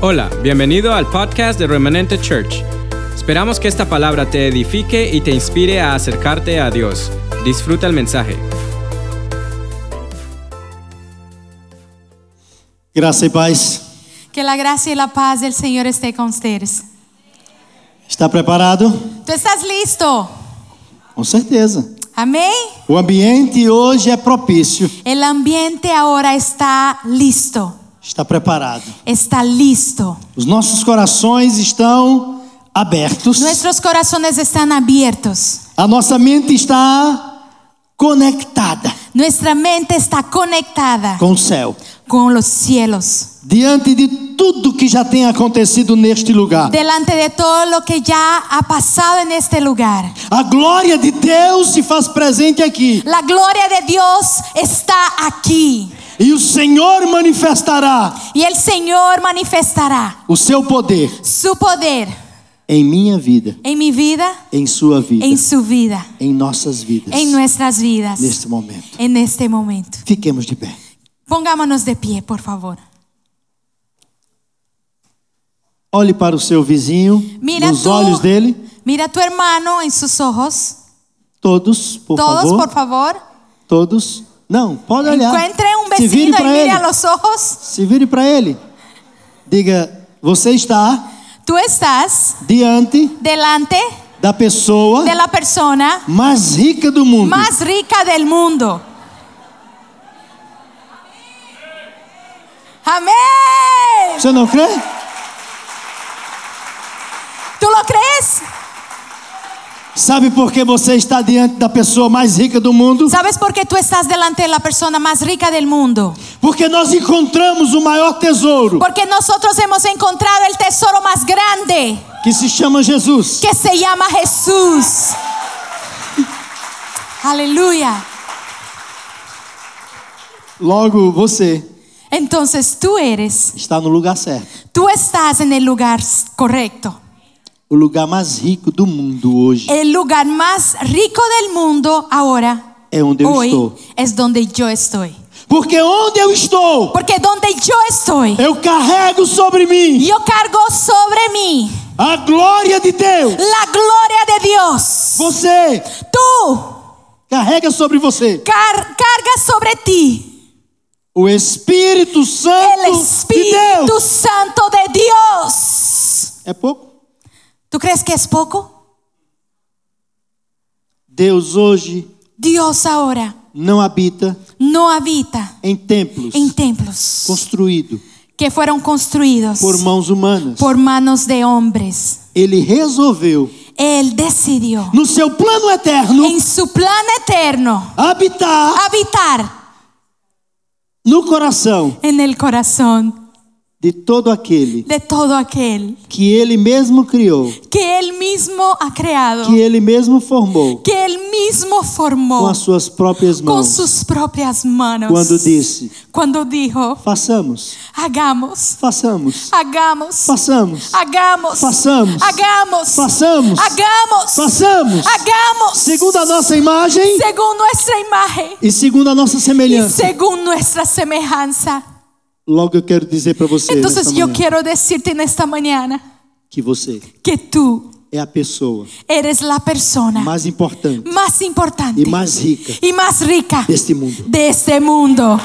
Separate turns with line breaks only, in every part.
Hola, bienvenido al podcast de Remanente Church. Esperamos que esta palabra te edifique y te inspire a acercarte a Dios. Disfruta el mensaje.
Graça e paz.
Que la gracia y la paz del Señor esté con ustedes.
Está preparado?
¿Tú estás listo?
Com certeza.
Amén.
O ambiente hoje é propício.
El ambiente ahora está listo.
Está preparado.
Está listo.
Os nossos corações estão abertos.
Nuestros corazones están abiertos.
A nossa mente está conectada
Nuestra mente está conectada
com o céu.
con los cielos.
Diante de tudo que já tem acontecido neste lugar,
Delante de todo lo que ya ha pasado en este lugar.
a glória de Deus se faz presente aqui.
La gloria de Dios está aquí.
E o Senhor manifestará
Y el Señor manifestará
o seu poder
su poder
em minha vida,
en mi vida,
em sua vida,
en su vida,
em nossas vidas,
en nuestras vidas.
neste momento.
en este momento.
Fiquemos de pé.
Pongámonos de pie, por favor.
Olhe para o seu vizinho,
Mira
nos
tu-
olhos dele,
Mira a tu hermano en sus ojos.
todos, por
Todos,
favor,
por favor.
todos. Não, pode olhar.
Encuentre un
Se vire
vecino y
para
mire
ele.
a los ojos.
Se vire para ele. Diga, você está
Tú estás
diante
delante
da pessoa
de la persona
mais rica do mundo.
más rica del mundo. Amén.
Você não crê?
¿Tú lo crees?
Sabe por que você está diante da pessoa mais rica do mundo?
¿Sabes por qué tú estás delante de la persona más rica del mundo?
Porque nós encontramos o maior tesouro,
Porque nosotros hemos encontrado el tesoro más grande.
que se chama Jesus.
que se llama Jesús. Aleluya.
Logo, você
Entonces tú eres,
está no lugar certo.
tú estás en el lugar correcto.
O lugar mais rico do mundo hoje
El lugar más rico del mundo ahora,
é onde eu estou.
hoy, es donde yo estoy.
Porque onde eu estou,
Porque donde yo estoy,
eu carrego sobre mim
yo cargo sobre mí
a glória de Deus.
la gloria de Dios.
Você
Tú
carrega sobre você
car- cargas sobre ti
o Espírito Santo
el
de Deus.
Espíritu Santo de Dios.
É pouco?
¿Tú crees que es poco?
Deus hoje
Dios ahora
não habita
no habita
em templos
en templos
construídos
que fueron construidos
por mãos humanas.
por manos de hombres.
Ele resolveu,
Él decidió
no seu plano eterno,
en su plan eterno
habitar
habitar
no coração
en el corazón
de todo aquele
de todo aquel
que ele mesmo criou,
que Él mismo ha creado,
que ele mesmo formou
que Él mismo
com
formó
as suas próprias
con
mãos.
sus propias manos.
Quando disse:
Cuando dijo,
Façamos,
hagamos,
façamos,
hagamos,
façamos,
hagamos,
Façamos.
hagamos,
Façamos.
hagamos,
façamos,
Hagamos
segundo a nossa imagem
según nuestra imagen
e segundo a nossa
y
semelhança.
según nuestra semejanza.
Logo eu quero dizer para você
Entonces
nessa
yo
manhã
quiero decirte en esta mañana
que você
que tú
é a pessoa
eres la persona
mais importante
más importante
e mais rica
y más rica
deste mundo.
de este mundo.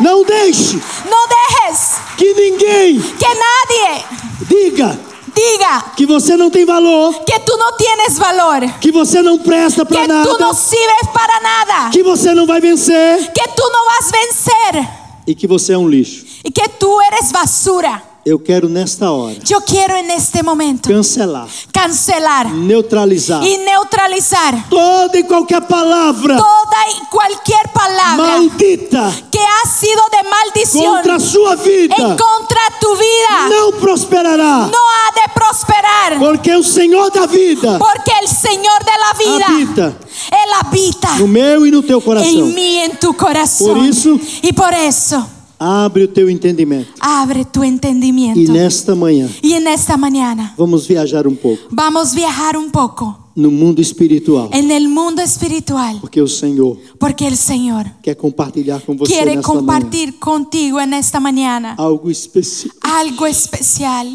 Não deixe
No dejes
que ninguém
que nadie
diga
diga
que você não tem valor,
que tú no tienes valor,
que você não presta para
que é tú
nada,
no sirves para nada,
que você não vai vencer
que tú no vas a vencer
e que você é um lixo.
y que tú eres basura.
Eu quero nesta hora
Yo quiero en este momento
cancelar,
cancelar
neutralizar
y neutralizar
toda e qualquer palavra
toda y cualquier palabra
maldita
que ha sido de maldición
contra a sua vida.
en contra tu vida. No,
Não prosperará,
ha de prosperar
porque o Senhor da vida
porque el Señor de la vida,
habita
Él habita
no meu e no teu
en
coração.
mí, en tu corazón.
Por isso,
y por eso,
abre o teu entendimento.
abre tu
E
entendimiento.
nesta manhã,
y en esta mañana
vamos viajar um pouco.
vamos a viajar un poco
no mundo espiritual.
en el mundo espiritual,
Porque o Senhor
porque el Señor
quer compartilhar com você
quiere
nesta manhã
compartir contigo en esta mañana
algo específico
algo especial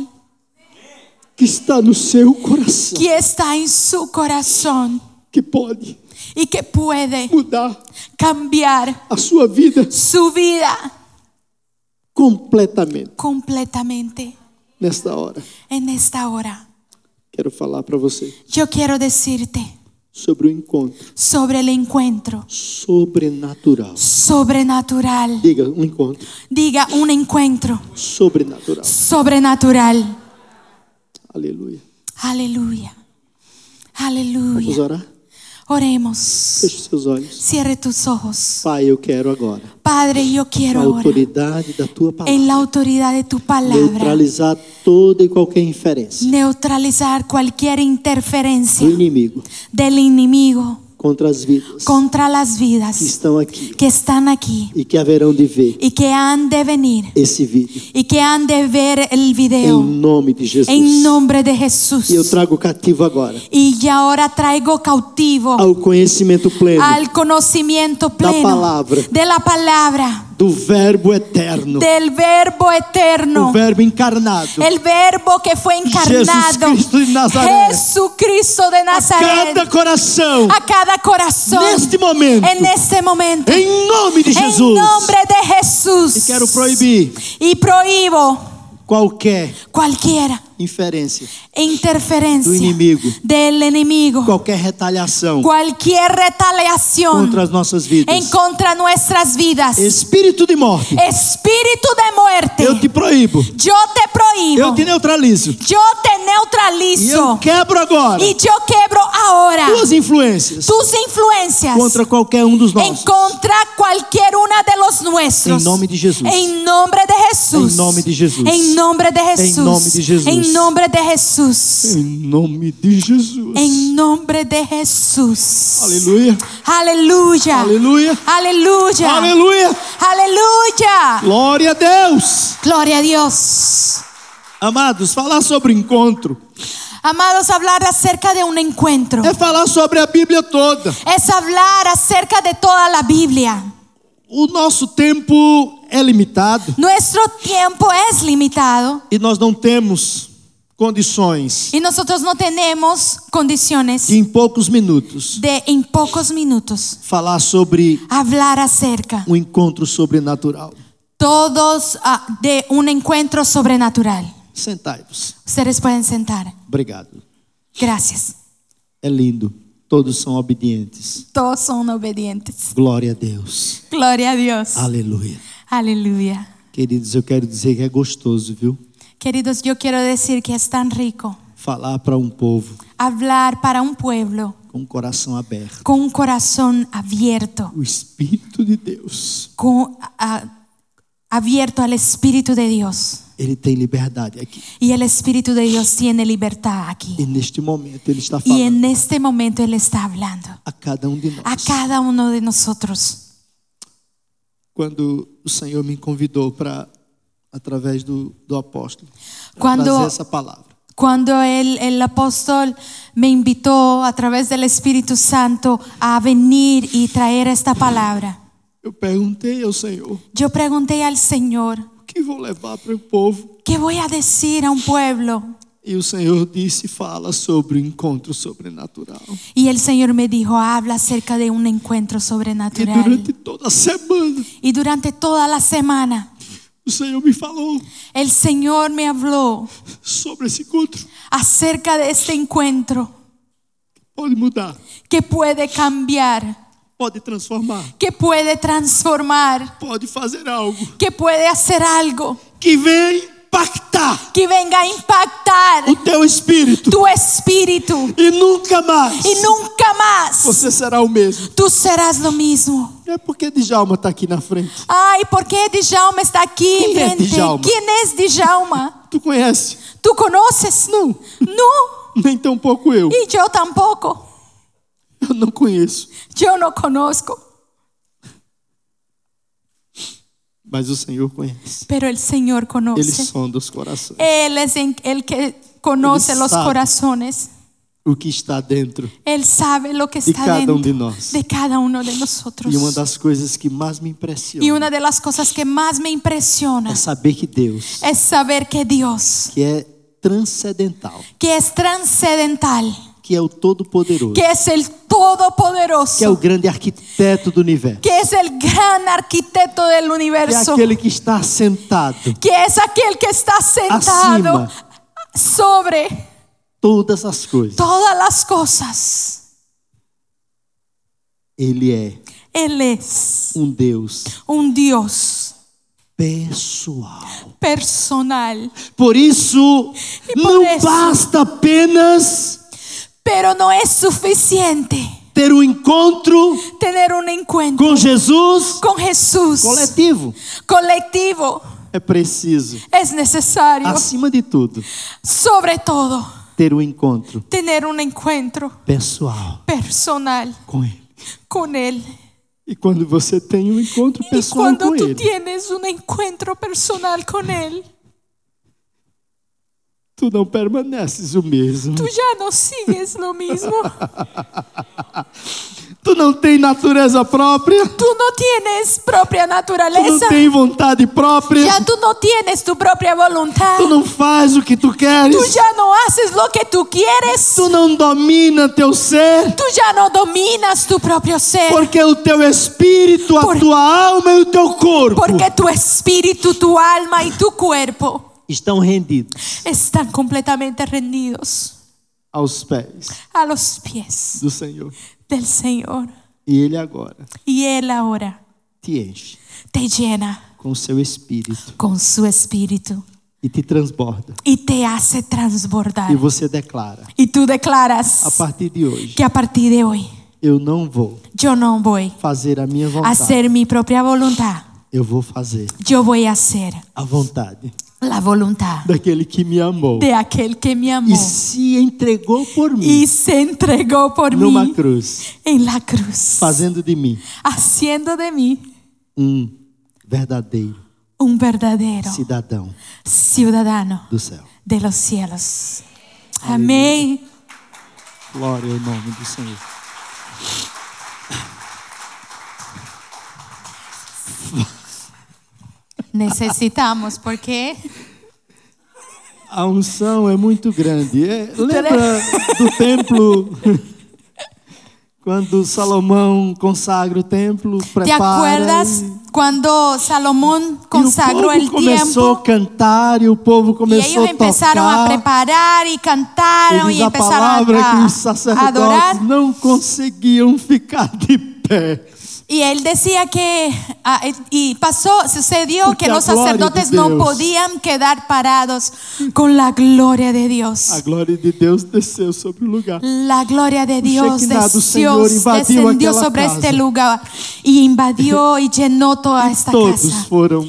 que está no seu coração,
que está en su corazón
que pode
y que puede
mudar
cambiar
a sua vida
su vida
completamente
completamente
nesta hora.
en esta hora.
Quero falar para você
Yo quiero decirte
sobre o encontro
sobre el encuentro
sobrenatural.
sobrenatural.
Diga, um encontro
Diga un encuentro
sobrenatural.
sobrenatural.
Aleluia.
Aleluya.
Vamos
Aleluya.
orar?
Oremos.
Feche seus olhos.
Cierre tus ojos.
Pai, eu quero agora,
Padre, yo quiero
na
ahora,
autoridade da tua palavra,
en la autoridad de tu palabra,
neutralizar toda e qualquer inferência
neutralizar cualquier interferencia
do inimigo
del enemigo
contra as vidas
contra las
que
vidas
estão aqui
que están aquí
e que haverão de ver
y que han de venir
esse vídeo.
y que han de ver el
Em
video.
nome de Jesus.
En nombre de
E eu
Jesús.
trago cativo agora
Y ya ahora traigo cautivo
ao conhecimento pleno
Oh. al conocimiento pleno
palabra.
de la palabra.
do Verbo eterno,
del verbo
o
eterno, É
Verbo encarnado.
el verbo que fue encarnado,
Jesucristo de Nazaret.
Jesucristo de
A
Nazaret,
cada coração,
a cada corazón,
neste momento,
en este momento,
em nome de
en
Jesus.
nombre de Jesús,
E quero proibir
y prohíbo
qualquer
cualquier
inferência,
interferencia
Do inimigo.
del enemigo,
qualquer retaliação
cualquier retaliación
contra as nossas vidas.
en contra nuestras vidas,
Espírito de morte,
espíritu de muerte,
eu te proíbo,
yo te prohíbo,
eu te neutralizo.
yo te
E
neutralizo.
eu quebro agora
E eu quebro agora
tuas influências
tus influências
contra qualquer um dos
em
nossos.
contra qualquer uma de los nuestros.
Em nome de Jesus.
Em nome de Jesus.
Em nome de Jesus.
Em nome de Jesus.
Em nome de Jesus.
Em nome de Jesus.
Em nome de Jesus.
Em nome de Jesus.
Aleluia.
Aleluia.
Aleluia.
Aleluia.
Aleluia.
Aleluia.
Glória a Deus.
Glória a Deus.
Amados, falar sobre encontro
Amados, hablar acerca de um encuentro
é falar sobre a Bíblia toda.
es hablar acerca de toda la Biblia.
O nosso tempo é limitado
Nuestro tiempo es limitado
e nós não temos condições
y nosotros no tenemos condiciones
de, em poucos minutos,
de en pocos minutos
falar sobre
hablar acerca
um encontro sobrenatural.
todos ah, de un encuentro sobrenatural.
Sentai-vos.
Ustedes pueden sentar.
Obrigado.
Gracias.
É lindo. Todos são obedientes.
Todos son obedientes.
Glória a Deus.
Gloria a Dios.
Aleluia.
Aleluia.
Queridos, eu quero dizer que é gostoso, viu?
Queridos, yo quiero decir que es tan rico
Falar para um povo
hablar para un pueblo
com o coração aberto.
con un corazón abierto.
O Espírito de Deus,
con- a- abierto al Espíritu de Dios.
ele tem liberdade aqui.
Y el Espíritu de Dios tiene libertad aquí.
E neste momento ele está
Y
falando
en este momento Él está hablando
a cada um de nós.
a cada uno de nosotros.
Quando o Senhor me convidou para, através do, do apóstolo, pra
Quando-
trazer essa palavra.
Cuando el, el apóstol me invitó a través del Espíritu Santo a venir y traer esta palabra,
Eu perguntei ao Senhor,
yo pregunté al Señor,
o que vou levar para o povo?
¿qué voy a decir a un pueblo?
E o Senhor disse, fala sobre o encontro sobrenatural.
Y el Señor me dijo, habla acerca de un encuentro
E
sobrenatural.
durante toda a semana,
Y durante toda la semana
o Senhor me falou
El Señor me habló
sobre esse encontro.
acerca de este encuentro
Pode mudar,
que puede cambiar,
pode transformar,
que puede transformar,
pode fazer algo
que puede hacer algo
que vem impactar
que venga a impactar
o teu espírito
tu espíritu
e nunca mais
y nunca más
você será o mesmo.
tú serás lo mismo.
É porque Djalma está aqui na frente.
Ay, ¿por qué Djalma está aquí
¿Quién es
enfrente?
Djalma?
¿Quién es Djalma?
Tu conhece?
¿Tú conoces?
Não,
No,
nem tampouco eu.
y yo tampoco.
Eu não conheço.
Yo no conozco,
Mas o Senhor conhece.
pero el Señor conoce.
Ele sonda os corações.
Él es en- el que conoce
Él
los
sabe.
corazones.
o que está dentro.
Él sabe lo que
De
está
cada um
dentro
de nós.
de cada uno de nosotros.
E uma das coisas que mais me
Y
impressiona
una de las cosas que más me impresiona
é saber que Deus,
es saber que Dios,
que é transcendental,
que es trascendental,
que é o todo-poderoso,
que es el
que é o
todopoderoso,
grande arquiteto do universo,
que es el gran arquitecto del
que é
universo,
aquele que está sentado
que es aquel que está sentado
acima
sobre
todas as coisas.
todas las cosas.
Ele é
Él es
um Deus
un Dios
pessoal.
personal,
Por isso,
E por
não
isso-
basta apenas
pero no es suficiente
ter um encontro
tener un encuentro
com Jesus
con Jesús
coletivo.
colectivo.
É preciso,
Es necesario,
acima de tudo,
sobre todo,
ter um encontro
tener un encuentro
pessoal
personal
com Ele.
con Él.
E quando você tem um encontro
Y
pessoal
cuando
com
tú
Ele,
tienes un encuentro personal con Él,
tu não permaneces o mesmo.
tú ya no sigues lo mismo.
Tu não tem natureza própria,
Tú no tienes propia
tu não
naturaleza.
tem vontade própria,
Ya tú no tienes tu propia voluntad.
tu não faz o que tu
Tú
queres,
ya no haces lo que tú quieres.
tu não domina teu ser,
Tú ya no dominas tu propio ser.
porque o teu espírito, a
É. Por-
tua alma e o teu corpo
Porque tu espíritu, tu alma y tu cuerpo
estão rendidos
están completamente rendidos
aos pés
a los pies
do Senhor.
del Señor.
E Ele agora
Y Él ahora
te enche
te llena
com o seu espírito
con su espíritu
e te transborda.
y te hace transbordar.
E você declara:
Y tú
a
declaras
partir de hoje,
que a partir de hoy
eu não vou
yo no voy
fazer a minha
a
vontade,
hacer mi propia voluntad.
eu vou fazer
Yo voy a hacer
a vontade
la voluntad
daquele que me amou
de aquel que me amó
e se entregou por mim
y se entregó por
numa
mí
cruz,
en la cruz,
fazendo de mim
haciendo de mí
um verdadeiro
un verdadero
cidadão
ciudadano
do céu.
de los cielos. Amén.
Glória ao nome do Senhor.
Necesitamos, porque
A unção é muito grande. É, lembra do templo? Quando Salomão consagra o templo,
¿te
prepara.
acuerdas
e-
cuando Salomón
e o
consagró el
povo começou
tiempo?
a cantar e o povo
Y
começou
ellos
a tocar.
empezaron a preparar y cantaron
E diz
y
a
empezaron
palavra
a,
que os
a- a adorar.
sacerdotes não conseguiam ficar de pé.
Y él decía que, ah, y pasó, sucedió
Porque
que los
la gloria de
sacerdotes
Dios.
no podían quedar parados con la gloria de
A
Dios.
glória de Deus desceu sobre o lugar.
La gloria de Dios
Shekinah do
descendió,
Señor invadió
descendió
aquella
sobre
casa.
este lugar y invadió y llenó toda esta
Todos
casa.
foram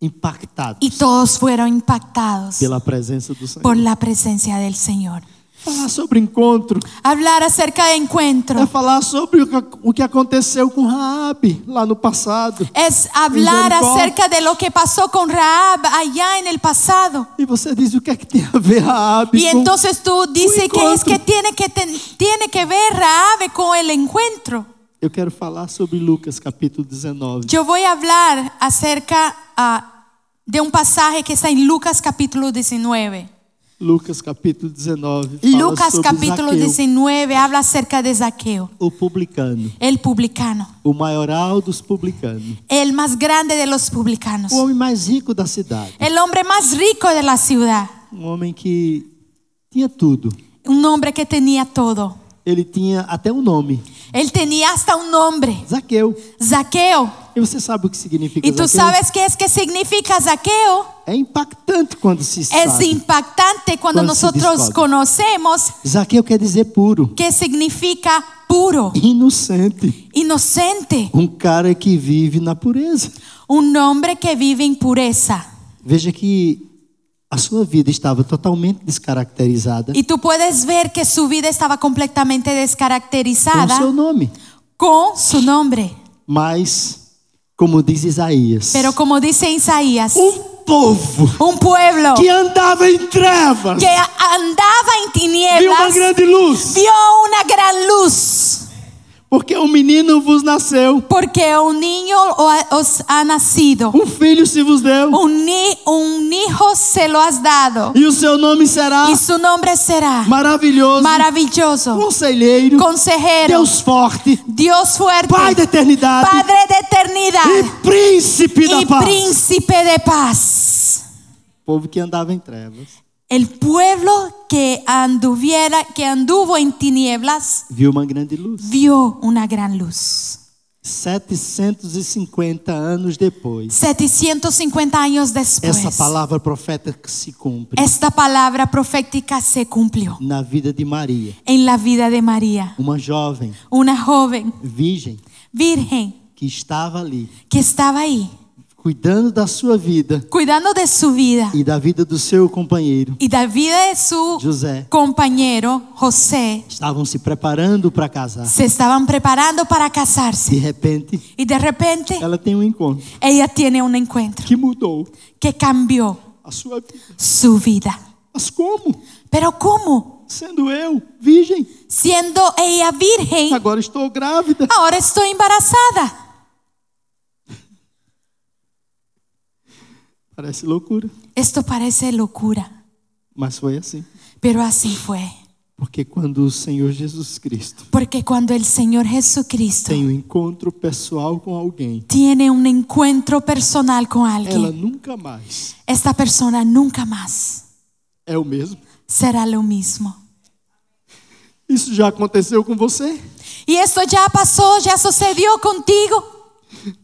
Y
impactados
todos fueron impactados
pela presença do Senhor.
por la presencia del Señor.
Falar sobre encontro
Hablar acerca de
é
encuentro
falar sobre o que- o que aconteceu com Raabe lá no passado.
es hablar
Jericó.
acerca de lo que pasó con Raab allá en el pasado.
E você diz o que é que tem a ver Raabe
Y
com
entonces tú dices que es
encuentro.
que tiene que, ten- tiene que ver Raabe con el encuentro.
Eu quero falar sobre Lucas capítulo 19.
Yo voy a hablar acerca ah, de un pasaje que está en Lucas capítulo 19.
Lucas capítulo 19. fala
Lucas
sobre
capítulo
Zaqueu,
19 habla acerca de Zaqueo,
O publicano,
el publicano,
o maioral dos publicanos,
el más grande de los publicanos,
o homem mais rico da cidade,
el hombre más rico de la ciudad,
um homem que tinha tudo.
un hombre que tenía todo.
Ele tinha até um nome,
Él tenía hasta un nombre,
Zaqueu.
Zaqueo.
E você sabe o que significa
Y tú
Zaqueu?
sabes qué es que significa Zaqueo.
É impactante quando se
Es
sabe.
impactante cuando
Cuando se
nosotros
descubre.
conocemos
Zaqueu quer dizer puro,
qué significa puro,
inocente,
inocente,
um cara que vive na pureza.
un hombre que vive en pureza.
Veja que a sua vida estava totalmente descaracterizada
Y tú puedes ver que su vida estaba completamente
com o
descaracterizada
seu nome.
con su nombre.
Mas, como diz Isaías,
Pero como dice Isaías,
um povo
Un pueblo
que andava em trevas
que a- andaba
viu uma
en tinieblas
grande luz,
vio una gran luz.
porque um menino vos nasceu,
Porque un niño o- os ha nacido.
um filho se vos deu,
Un, ni- un hijo se lo has dado.
e o seu nome será
Y su nombre será
maravilhoso,
maravilloso,
conselheiro,
consejero,
Deus forte,
Dios fuerte,
Pai da eternidade
Padre de eternidad
e príncipe da
y
paz.
príncipe de paz.
Povo que andava em trevas
El pueblo que anduviera, que anduvo en tinieblas,
viu uma grande luz.
vio una gran luz.
750 anos depois,
750 años después,
essa palavra profeta que se cumpre
esta palabra profética se cumplió
na vida de Maria,
en la vida de María,
uma jovem
una joven
virgem
virgen
que estava ali,
que estaba ahí
cuidando da sua vida
cuidando de su vida
e da vida do seu companheiro
y la vida de su
José.
compañero José.
Estavam se preparando para casar.
Se estaban preparando para casarse
De repente,
y de repente
ela tem um encontro
ella tiene un encuentro
que mudou
que cambió
a sua vida.
su vida.
Mas como?
Pero ¿cómo?
Sendo eu virgem,
Siendo ella virgen,
agora estou grávida.
ahora estoy embarazada.
Parece loucura,
Esto parece locura,
mas foi assim.
pero así fue.
Porque quando o Senhor Jesus Cristo
Porque cuando el Señor Jesucristo
tem um encontro pessoal com alguém,
tiene un encuentro personal con
ela
alguien,
nunca mais
esta persona nunca más
é o mesmo.
será lo mismo.
Isso já aconteceu com você?
Y esto ya pasó, ya sucedió contigo.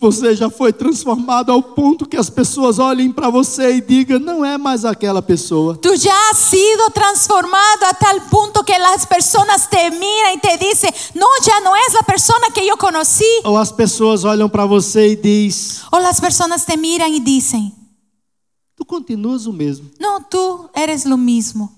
Você já foi transformado ao ponto que as pessoas olhem para você e digam: não é mais aquela pessoa.
Tú ya has sido transformado a tal punto que las personas te miran y te dicen, no, ya no es la persona que yo conocí.
Ou as pessoas olham para você e diz:
O las personas te miran y dicen,
tu continuas o mesmo,
no, tú eres lo mismo,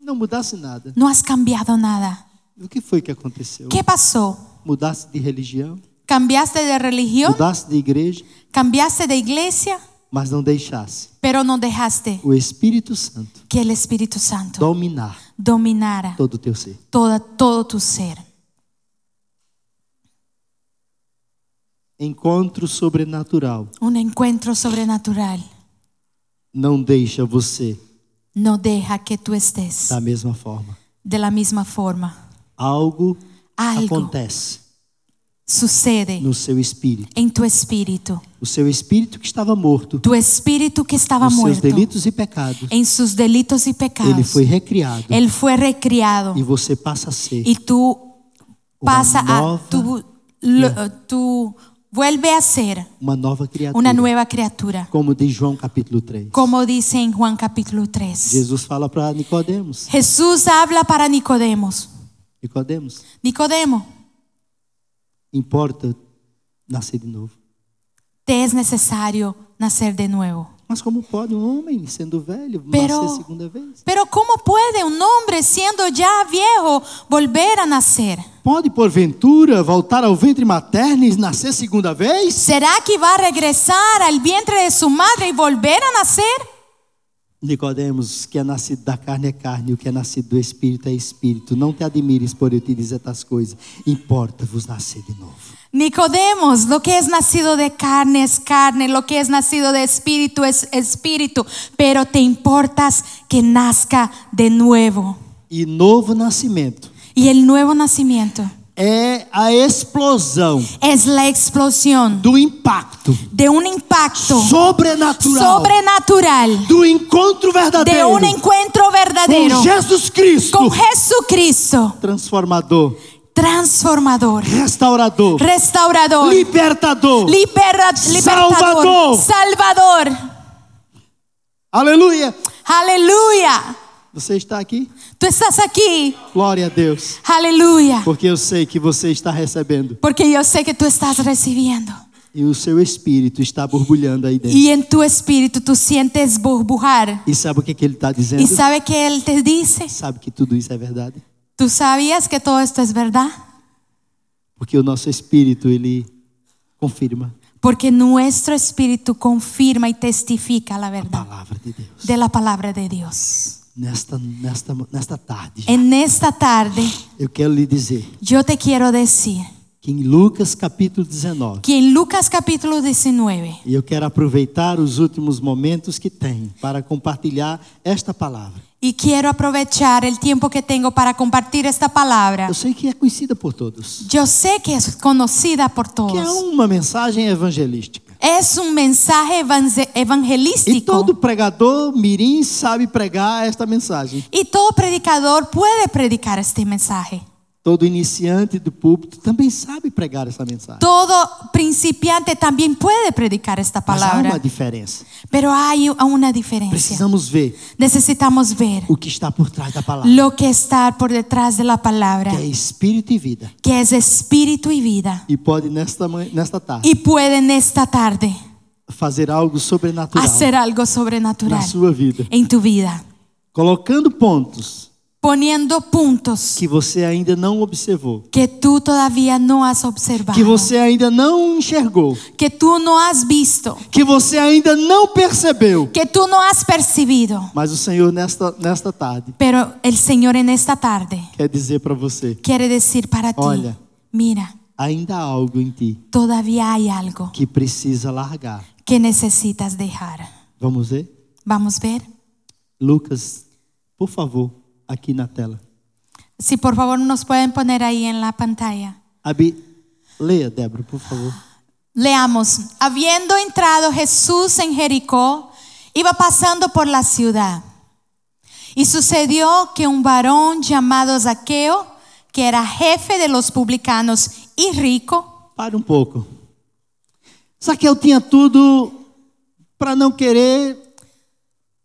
não mudasse nada.
no has cambiado nada.
O que foi que aconteceu?
¿Qué pasó?
Mudasse de religião,
¿Cambiaste de religión?
mudasse de igreja,
¿Cambiaste de iglesia?
mas não deixasse
Pero no dejaste
o Espírito Santo
que el Espíritu Santo
dominar
dominara
todo o teu ser.
toda, todo tu ser.
Encontro sobrenatural
Un encuentro sobrenatural
não deixa você
no deja que tú estés
da mesma forma.
de la misma forma.
Algo,
Algo
acontece
sucede
no seu espírito.
en tu espíritu.
O seu espírito que estava morto,
Tu espíritu que estaba
nos seus
muerto
delitos e pecados,
en sus delitos y pecados.
ele foi recriado
Él fue recriado
e você passa a ser
y tú
Una
pasa a
nova-
tú, lo- tú vuelve a ser
uma nova criatura.
una nueva criatura,
Como diz João capítulo 3.
como dice en Juan capítulo 3.
Jesus fala para Nicodemos,
Jesús habla para Nicodemos.
Nicodemos,
Nicodemo,
importa nascer de novo.
te es necesario nacer de nuevo.
Mas como pode um homem, sendo velho,
Pero-
nascer segunda vez?
Pero ¿cómo puede un hombre siendo ya viejo volver a nacer?
Pode, porventura, voltar ao ventre materno e nascer segunda vez?
¿Será que va a regresar al vientre de su madre y volver a nacer?
Nicodemos, o que é nascido da carne é carne, o que é nascido do espírito é espírito. Não te admires por eu te dizer tais coisas. Importa-vos nascer de novo.
Nicodemos, lo que es nacido de carne es carne, lo que es nacido de espíritu es espíritu, pero te importas que nazca de nuevo.
E novo nascimento
Y el nuevo nacimiento
é a explosão
es la explosión
do impacto
de un impacto
sobrenatural
sobrenatural,
do encontro
de
verdadeiro
un encuentro verdadero
com Jesus Cristo,
con Jesucristo,
transformador,
transformador,
restaurador,
restaurador,
libertador.
libera- libertador,
Salvador.
salvador.
Aleluia!
Aleluya.
Você está aqui?
Tú estás aquí.
Glória a Deus,
Aleluya.
porque eu sei que você está recebendo
Porque yo sé que tú estás recibiendo.
e o seu espírito está borbulhando aí dentro.
Y en tu espíritu tú sientes burbujar.
E sabe o que, que ele está dizendo?
Y sabe que Él te dice,
Sabe que tudo isso é verdade?
tú sabías que todo esto es verdad.
Porque o nosso espírito, ele confirma.
porque nuestro espíritu confirma y testifica la
a
verdad
palavra de Deus.
de la palabra de Dios.
Nesta, nesta, nesta tarde,
En esta tarde
eu quero lhe dizer
yo te quiero decir
que em Lucas capítulo 19,
que en Lucas capítulo 19,
e eu quero aproveitar os últimos momentos que tem para compartilhar esta palavra.
y quiero aprovechar el tiempo que tengo para compartir esta palabra,
Eu sei que é conhecida por todos,
yo sé que es conocida por
que é
todos.
uma mensagem evangelística.
Es un mensaje evanze-
E
evangelístico.
todo pregador mirim sabe pregar esta mensagem.
Y todo predicador puede predicar este mensaje.
Todo iniciante do púlpito também sabe pregar essa mensagem.
Todo principiante también puede predicar esta
Mas há uma
palabra.
diferença.
Pero hay una diferencia.
Precisamos ver
Necesitamos ver
o que está por trás da palavra,
lo que está por detrás de la palabra,
que é espírito e vida.
que es espíritu y vida.
E pode nesta manhã- nesta tarde
Y pueden esta tarde
fazer algo sobrenatural
hacer algo
na
sobrenatural
sua vida,
en tu vida,
colocando pontos
poniendo puntos
que você ainda não observou,
que tú todavía no has observado,
que você ainda não enxergou,
que tú no has visto,
que você ainda não percebeu.
que tú no has percibido.
Mas o Senhor nesta nesta tarde
Pero el Señor en esta tarde
quer dizer para você,
quiere decir para ti,
Olha.
mira,
ainda há algo em ti
todavía hay algo
que precisa largar.
que necesitas dejar.
Vamos ver?
Vamos a ver.
Lucas, por favor, aqui na tela.
Si por favor nos pueden poner ahí en la pantalla.
Abi, leia, Débora, por favor.
Leamos, habiendo entrado Jesús en Jericó, iba pasando por la ciudad. Y sucedió que un varón llamado Zaqueo, que era jefe de los publicanos y rico,
Para um pouco. Zaqueu tinha tudo para não querer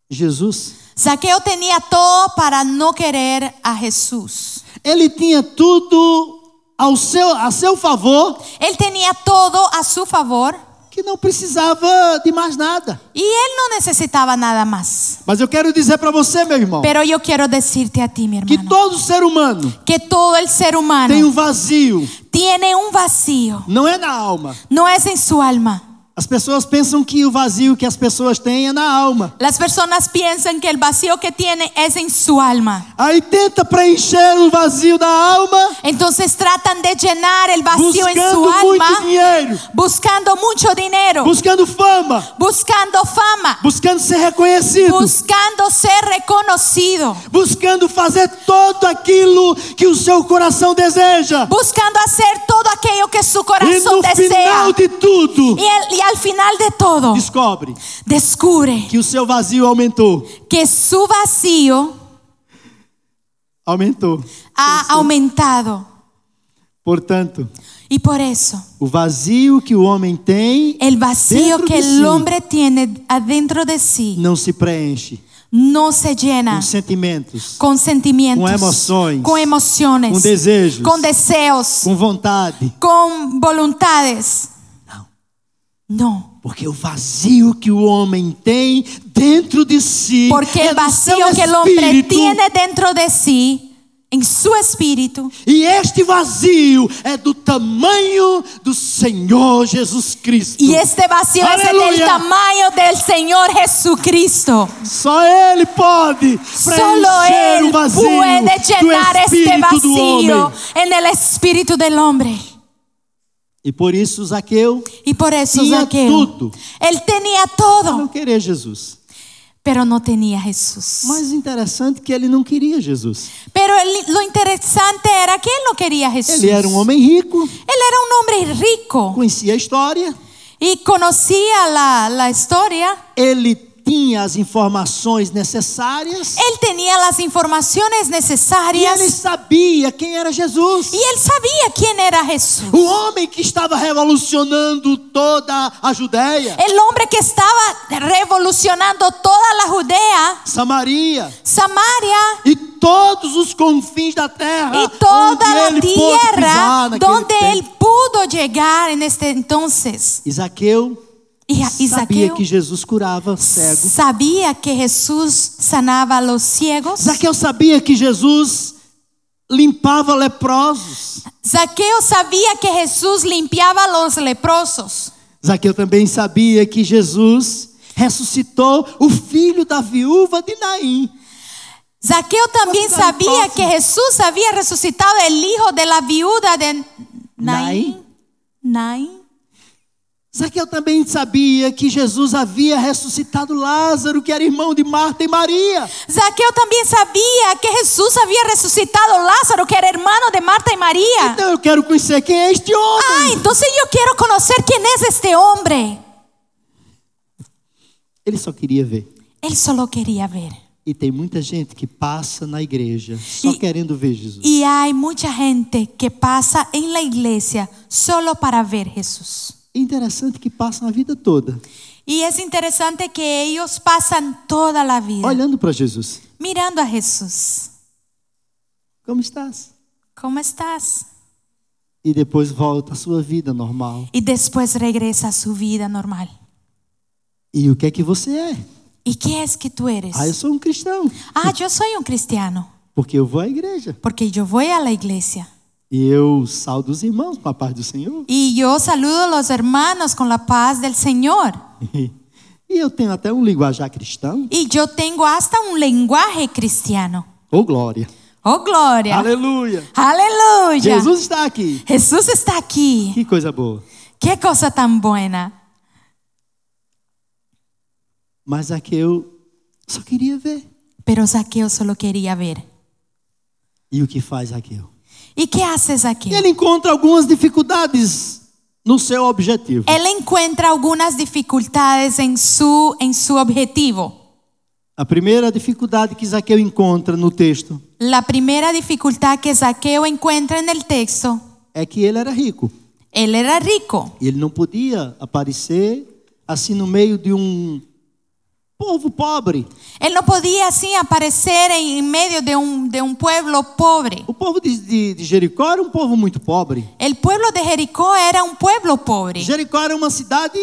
Jesus.
Zaqueo tenía todo para no querer a Jesús.
Ele tinha tudo ao seu, a seu favor
Él tenía todo a su favor
que não precisava de mais nada.
y él no necesitaba nada más.
Mas eu quero dizer para você, meu irmão,
Pero yo quiero decirte a ti, mi
que
hermano,
todo ser humano
que todo el ser humano
tem um vazio,
tiene un vacío.
não é na alma.
No es en su alma.
As pessoas pensam que o vazio que as pessoas têm é na alma.
Las personas piensan que el vacío que tiene es en su alma.
Aí tenta preencher o vazio da alma
Entonces tratan de llenar el vacío en su
buscando
alma
muito dinheiro,
buscando mucho dinero,
buscando fama,
buscando fama,
buscando ser reconhecido,
buscando ser reconocido,
buscando fazer todo aquilo que o seu coração deseja.
buscando hacer todo aquello que su
E
corazón
no
desea.
final de tudo,
Y, el- y al final de todo,
descobre
descubre
que o seu vazio aumentou.
que su vacío
Aumentou.
ha aumentado.
Portanto,
Y por eso,
o vazio que o homem tem
el vacío
Dentro
que
de
el
sí.
hombre tiene adentro de sí
não se preenche
no se llena
com sentimientos,
con sentimientos,
con emociones,
con emociones,
con deseos,
con deseos,
com vontade.
con voluntades. No.
Porque o vazio que o homem tem dentro de si,
Porque
é
el
do
vacío
seu
que el hombre
espírito,
tiene dentro de sí, en su espíritu,
E este vazio é do tamanho do Senhor Jesus Cristo.
Y este vacío es
Aleluya.
del tamaño del Señor Jesucristo.
Só Ele pode
Solo
preencher
Él
o vazio
puede llenar
do
este
espírito do
vacío
homem.
en el espíritu del hombre.
E por isso Zaqueu
Y por eso
Tenía
Zaqueo,
todo.
él tenía
não
todo,
querer Jesus.
pero no tenía a Jesús.
Mas interessante que ele não queria Jesus.
Pero él- lo interesante era que él no quería a Jesús.
Ele era um homem rico,
Él era un hombre rico
conhecia a história,
y conocía la, la historia.
ele tinha as informações necessárias.
Él tenía las
E
informaciones
ele
necesarias
sabia quem era Jesus.
y él sabía quién era Jesús.
O homem que estava revolucionando toda a Judéia,
El hombre que estaba revolucionando toda la Judea,
Samaria
Samaria
e todos os confins da terra.
y
onde
toda la
ele pôde pisar
tierra
naquele
donde
tempo.
él pudo llegar en este entonces.
E Zaqueu
Y a- y
sabia
Zaqueo
que Jesus curava cego.
sabía que Jesús sanaba a los ciegos.
Zaqueu sabia que Jesus limpava leprosos.
Zaqueo sabía que Jesús limpiaba a los leprosos.
Zaqueu também sabia que Jesus ressuscitou o filho da viúva de Naim.
Zaqueo también
Cuántas
sabía
cosas.
que Jesús había resucitado el hijo de la viuda de
Naín.
Naín. Naín.
Zaqueu também sabia que Jesus havia ressuscitado Lázaro, que era irmão de Marta e Maria.
Zaqueo también sabía que Jesús había resucitado a Lázaro, que era hermano de Marta y María.
Então eu quero conhecer quem é este homem.
Ah, entonces yo quiero conocer quién es este hombre.
Ele só queria ver.
Él solo quería ver.
E tem muita gente que passa na igreja só
E-
querendo ver Jesus.
Y hay mucha gente que pasa en la iglesia solo para ver Jesús.
Interessante que passam a vida toda
Y es interesante que ellos pasan toda la vida
olhando para Jesus.
mirando a Jesús.
Como estás?
¿Cómo estás?
E depois volta à sua vida normal.
Y después regresa a su vida normal.
E o que é que você é?
¿Y qué es que tú eres?
Ah, eu sou um cristão,
Ah, yo soy un cristiano
porque eu vou à igreja.
porque yo voy a la iglesia.
E eu saldo os irmãos com a paz do Senhor.
Y yo saludo a los hermanos con la paz del Señor.
E eu tenho até um linguajar cristão.
Y yo tengo hasta un lenguaje cristiano.
Ô glória.
Oh, gloria.
Aleluia.
Aleluya.
Jesus está aqui.
Jesús está aquí.
Que coisa boa.
Qué cosa tan buena.
Mas aqui eu só queria ver.
Pero Zaqueo solo quería ver.
E o que faz Raquel?
¿Y qué hace
E
Zaqueo?
ele encontra algumas dificuldades no seu objetivo.
Él encuentra algunas dificultades en su, en su objetivo.
A primeira dificuldade que Zaqueu encontra no texto
La primera dificultad que Zaqueo encuentra en el texto,
é que ele era rico.
él era rico.
E ele não podia aparecer assim no meio de um povo pobre.
Él no podía así aparecer en, en medio de un, de un pueblo pobre.
O povo de, de- de Jericó era um povo muito pobre.
El pueblo de Jericó era un pueblo pobre.
Jericó era uma cidade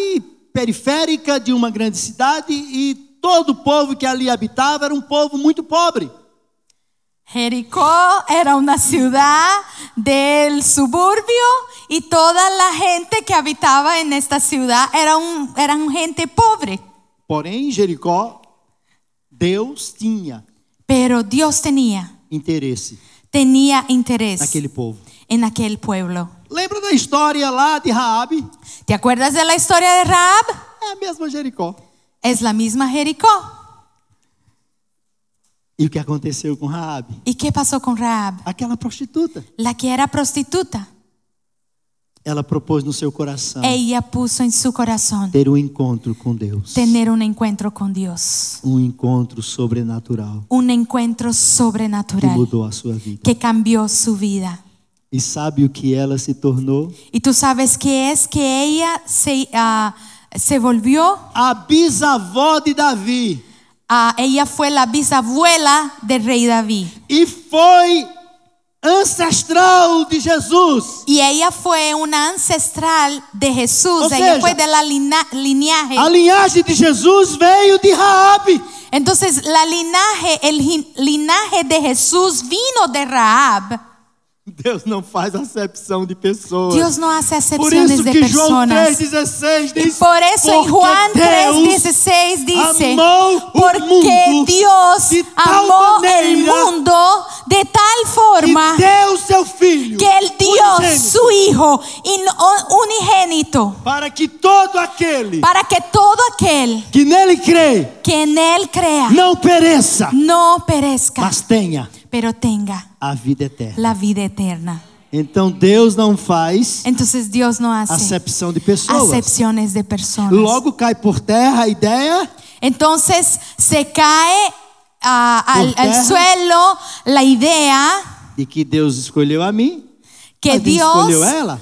periférica de uma grande cidade e todo o povo que ali habitava era um povo muito pobre.
Jericó era una ciudad del suburbio y toda la gente que habitaba en esta ciudad era un- eran gente pobre.
Porém, Jericó, Deus tinha
Pero Dios tenía,
interesse
tenía interés
naquele povo.
en aquel pueblo.
Lembra da história lá de Raabe?
¿Te acuerdas de la historia de Raab?
É a mesma Jericó.
Es la misma Jericó.
E o que aconteceu com Raabe?
¿Y qué pasó con Raab?
Aquela prostituta.
La que era prostituta.
Ela propôs no seu coração
Ella puso en su corazón
ter um encontro com Deus.
tener un encuentro con Dios,
Um encontro sobrenatural
un encuentro
que
sobrenatural
mudou a sua vida.
que cambió su vida.
E sabe o que ela se tornou?
Y tú sabes que es que ella se, ah, se volvió,
A bisavó de Davi.
ah, ella fue la bisabuela del rey David.
E foi ancestral de Jesus.
Y ella fue una ancestral de Jesús,
O
ella
sea,
fue de la lina- linaje.
A linhagem de Jesus veio de Raabe.
Entonces, la linaje, el gin- linaje de Jesús vino de Raab.
Deus não faz acepção de pessoas.
Dios no hace
Por isso
acepciones de
que João
personas.
3,16
Y
diz:
por eso en
"Porque
Juan
Deus
3:16 dice,
amó o
porque
mundo
Dios
de tal
amó el
maneira
mundo de tal forma
que deu seu filho
que él dio
unigênito,
su Hijo in- o- unigénito
para que todo aquele
para que todo aquel
que nele crê
que en él crea
não pereça,
no perezca,
mas tenha
pero tenga
a vida eterna.
la vida eterna.
Então Deus não
É
faz
Entonces Dios no hace
acepção de pessoas.
acepciones de personas.
Logo cai por terra a ideia
Entonces se cae ah, al-
Por terra.
al suelo la idea
de que Deus escolheu a mim,
que
mas
Dios
escolheu ela.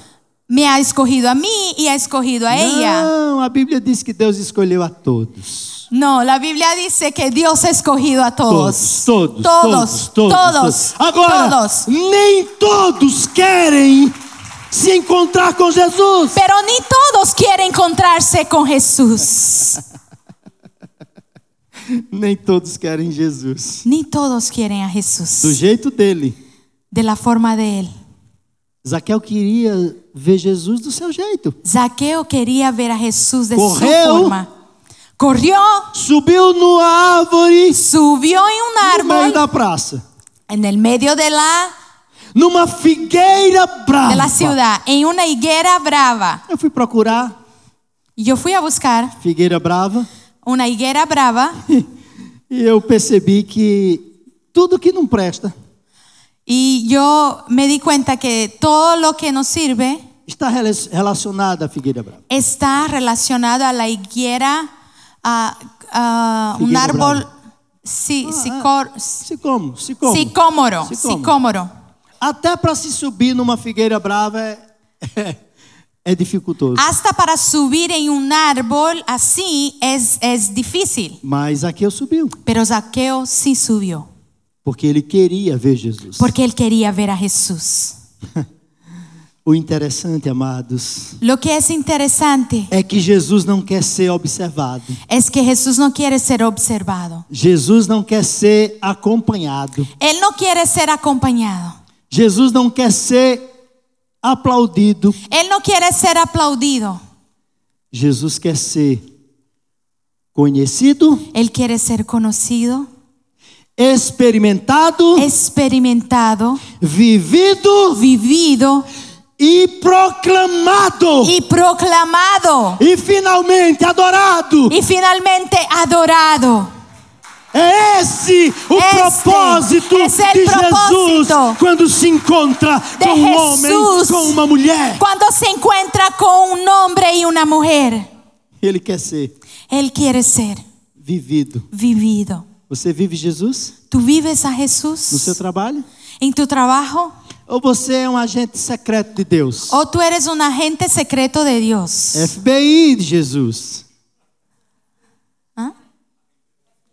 me ha escogido a mí y ha escogido a ella.
Não, a Bíblia diz que Deus escolheu a todos.
No, la Biblia dice que Dios ha escogido a todos.
Todos, todos,
todos, todos, ¡Ah,
Agora,
todos.
nem todos querem se encontrar com Jesus.
Pero ni todos quieren encontrarse con Jesús.
Nem todos querem Jesus.
Ni todos quieren a
Do
Jesús
jeito dele.
de la forma de Él.
Zaqueu queria ver Jesus do seu jeito.
Zaqueo quería ver a Jesús de
Correu.
su forma. Corrió,
Subiu numa árvore
subió en
no
un
meio
árbol,
da praça.
en el medio de la,
Numa figueira brava.
de la ciudad, en una higuera brava.
Eu fui procurar
Y Yo fui a buscar
figueira brava
una higuera brava
e eu percebi que tudo que não presta
y yo me di cuenta que todo lo que nos sirve
está rela- relacionado à figueira brava.
está relacionado a la higuera, a, a un
Higuera
árbol
brava. Ah,
sí, sicor-
Se como, se como.
sicómoro,
Sicômoro.
sicómoro.
Até para se subir numa figueira brava é, é dificultoso.
Hasta para subir en un árbol así es, es difícil.
Mas Zaqueu subiu,
Pero Zaqueo sí subió,
porque ele queria ver Jesus.
porque él quería ver a Jesús.
O interessante, amados,
Lo que es interesante
é que Jesus não quer ser observado.
es que Jesús no quiere ser observado.
Jesus não quer ser acompanhado.
Él no quiere ser acompañado.
Jesus não quer ser aplaudido.
Él no quiere ser aplaudido.
Jesus quer ser conhecido,
Él quiere ser conocido,
experimentado,
experimentado,
vivido
vivido
e proclamado.
y proclamado.
E finalmente adorado.
Y finalmente adorado.
É esse o
Esse
propósito
é esse
de Jesus
propósito
quando se encontra com um homem,
Jesus.
com uma mulher.
Cuando se encuentra con un hombre y una mujer,
Ele quer ser
Él quiere ser
vivido.
vivido.
Você vive Jesus
¿Tú vives a
no seu
Jesús
trabalho?
en tu trabajo
Ou você é um agente secreto de Deus?
o tú eres un agente secreto de Dios?
FBI de Jesus.
Hã?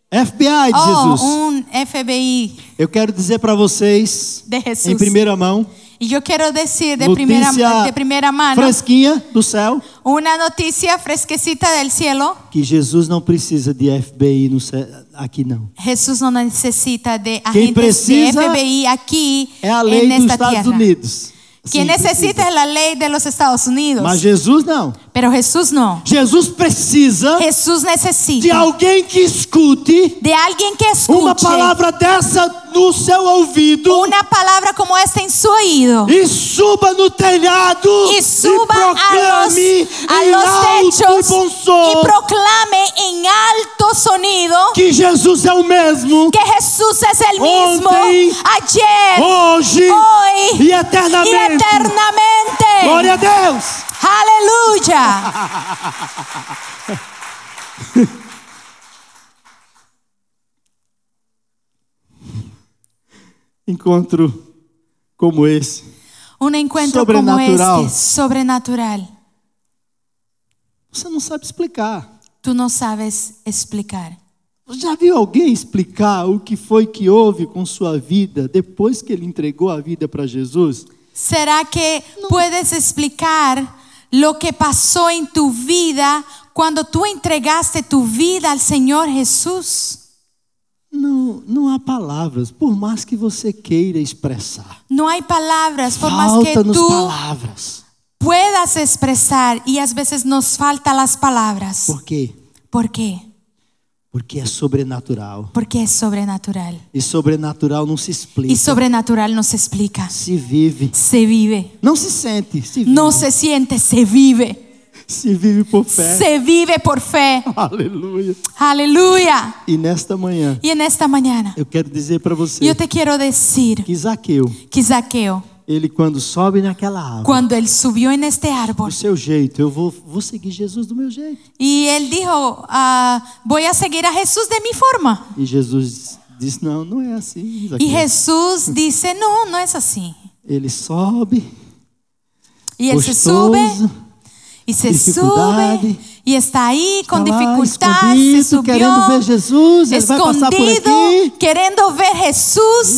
FBI de
Oh,
Jesus.
un FBI
Eu quero dizer para vocês,
de Jesús.
em primeira mão,
y yo quiero decir de primera,
notícia
de primera mano
fresquinha do céu,
una noticia fresquecita del cielo.
que Jesus não precisa de FBI no céu, aqui não.
Jesús no necesita de
Quem
agentes de
precisa
FBI aquí
É a lei
en
dos
esta
Estados
tierra.
Unidos.
Quien
Sim,
necesita
precisa.
es la ley de los Estados Unidos.
Mas Jesus não.
Pero Jesús no.
Jesus precisa
Jesús necesita
de alguém que escute
de alguien que escuche
uma palavra dessa no seu ouvido
una palabra como esta en su oído
e suba no telhado
y suba a los,
proclame
a
em
los
alto e bom
techos
som
y proclame en alto sonido
que Jesus é o mesmo
que Jesús es el mismo
Ontem,
ayer,
hoje
hoy
e
y
eternamente. Glória a
eternamente.
Deus.
Aleluya.
Encontro como esse
Un encuentro como
Sobrenatural.
este, sobrenatural,
você não sabe explicar.
tú no sabes explicar.
Você Já viu alguém explicar o que foi que houve com sua vida depois que ele entregou a vida para Jesus?
¿Será que puedes explicar lo que pasó en tu vida cuando tú entregaste tu vida al Señor Jesús?
Não, não há palavras, por mais que você queira expressar.
No hay palabras, por más que
Falta-nos
tú
palavras.
puedas expresar y a veces nos faltan las palabras.
Por quê?
¿Por qué?
Porque é sobrenatural.
Porque es sobrenatural.
E sobrenatural não se explica.
Y sobrenatural nos explica.
Se vive.
Se vive.
Não se sente, se vive.
No se siente, se vive.
Se vive por fé.
Se vive por fe.
Aleluia.
Aleluya.
E nesta manhã,
Y en esta mañana,
eu quero dizer para você
yo te quiero decir
que Zaqueu,
que Zaqueo,
ele quando sobe naquela árvore,
cuando él subió en este
do
árbol
seu jeito, eu vou, vou seguir Jesus do meu jeito.
y él dijo, ah, voy a seguir a Jesús de mi forma.
E Jesus disse: Não, não é assim.
Y
Zaqueu.
Jesús dice, no, no es así.
Ele sobe,
Y
Pues
él se sube
gostoso,
y se
dificuldade,
sube y está ahí con
tá lá,
dificultad, se
escondido, querendo ver Jesus, ele
subió,
vai passar por
escondido,
aqui.
queriendo ver Jesús.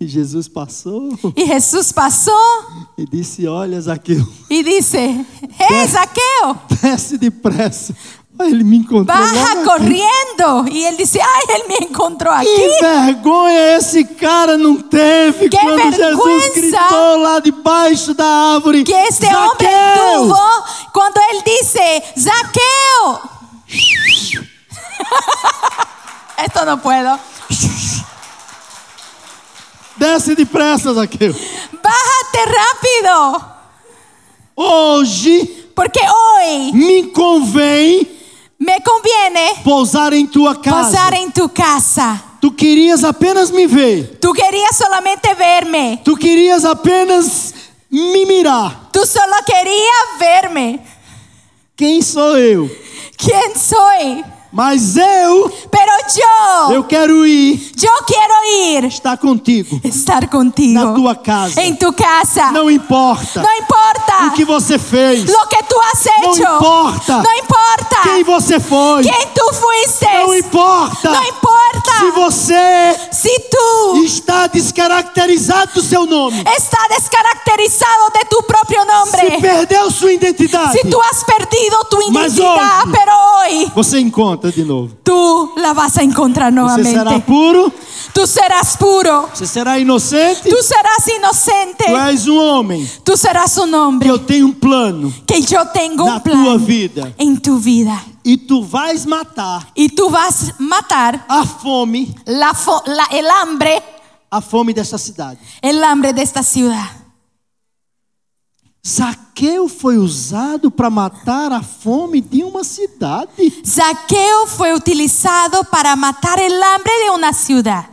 E Jesus passou
Y Jesús pasó
e disse: Olha, Zaqueu,
y dice, hey, Zaqueo,
desce depressa, Aí ele me encontrou.
baja
logo aqui.
corriendo. Y él dice, ay, él me encontró aquí.
Que vergonha esse cara não teve
Que
quando Jesus
vergüenza
gritou lá debaixo da árvore.
Que este hombre
"Zaqueu!"
tuvo cuando él dice, Zaqueo. Esto no puedo.
Desce depressa, Zaqueu.
Bájate rápido.
Hoje
Porque hoy
me convém
me conviene
pousar em tua casa.
pasar en tu casa.
Tu querias apenas me ver.
Tú querías solamente verme.
Tu querias apenas me mirar.
Tú solo querías verme.
Quem sou eu?
¿Quién soy?
Mas eu,
Pero yo,
eu quero ir
yo quiero ir,
estar contigo.
estar contigo.
Na tua casa.
En tu casa.
Não importa
No importa
o que você fez,
lo que tú has
No
hecho.
importa.
No importa
quem você foi.
quién tú fuiste.
Não importa
No importa
se você
si tú
está descaracterizado do seu nome.
estás descaracterizado de tu propio
Se
nombre.
perdeu sua identidade,
Si tú has perdido tu
Mas
identidad,
hoje-
pero hoy
você encontra de novo.
tú la vas a encontrar
Você será
nuevamente.
puro,
Tú serás puro.
você será inocente.
Tú serás inocente.
Tu és um homem.
Tú serás un
Que
hombre
eu tenho um plano
que yo tengo
na
un
tua
plan
vida.
en tu vida.
E tu vais matar
Y tú vas a matar
a fome,
la fo- la- el hambre,
a fome desta cidade.
el hambre de esta ciudad.
Zaqueu foi usado para matar a fome de uma cidade.
Saqueo fue utilizado para matar el hambre de una ciudad.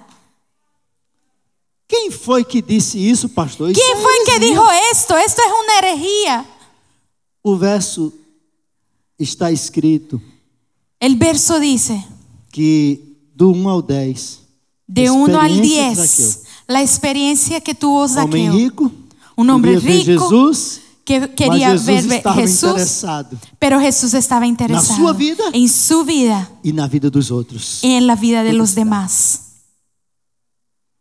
Quem foi que disse isso, pastor? Isso
¿Quién
é
fue el que
heresia.
dijo esto? Esto es una herejía.
O verso está escrito
El verso dice,
que do 1 ao 10,
de 1 al
Experiencia de
10,
Zaqueo.
la experiencia que tuvo
homem
Saqueo.
rico,
Um homem
queria ver
rico,
Jesus,
Que
mas
quería
Jesus
ver
estava
Jesús,
interessado
pero Jesús estaba interesado
sua vida?
en su vida
e na vida dos outros.
y en la vida de los
está.
demás.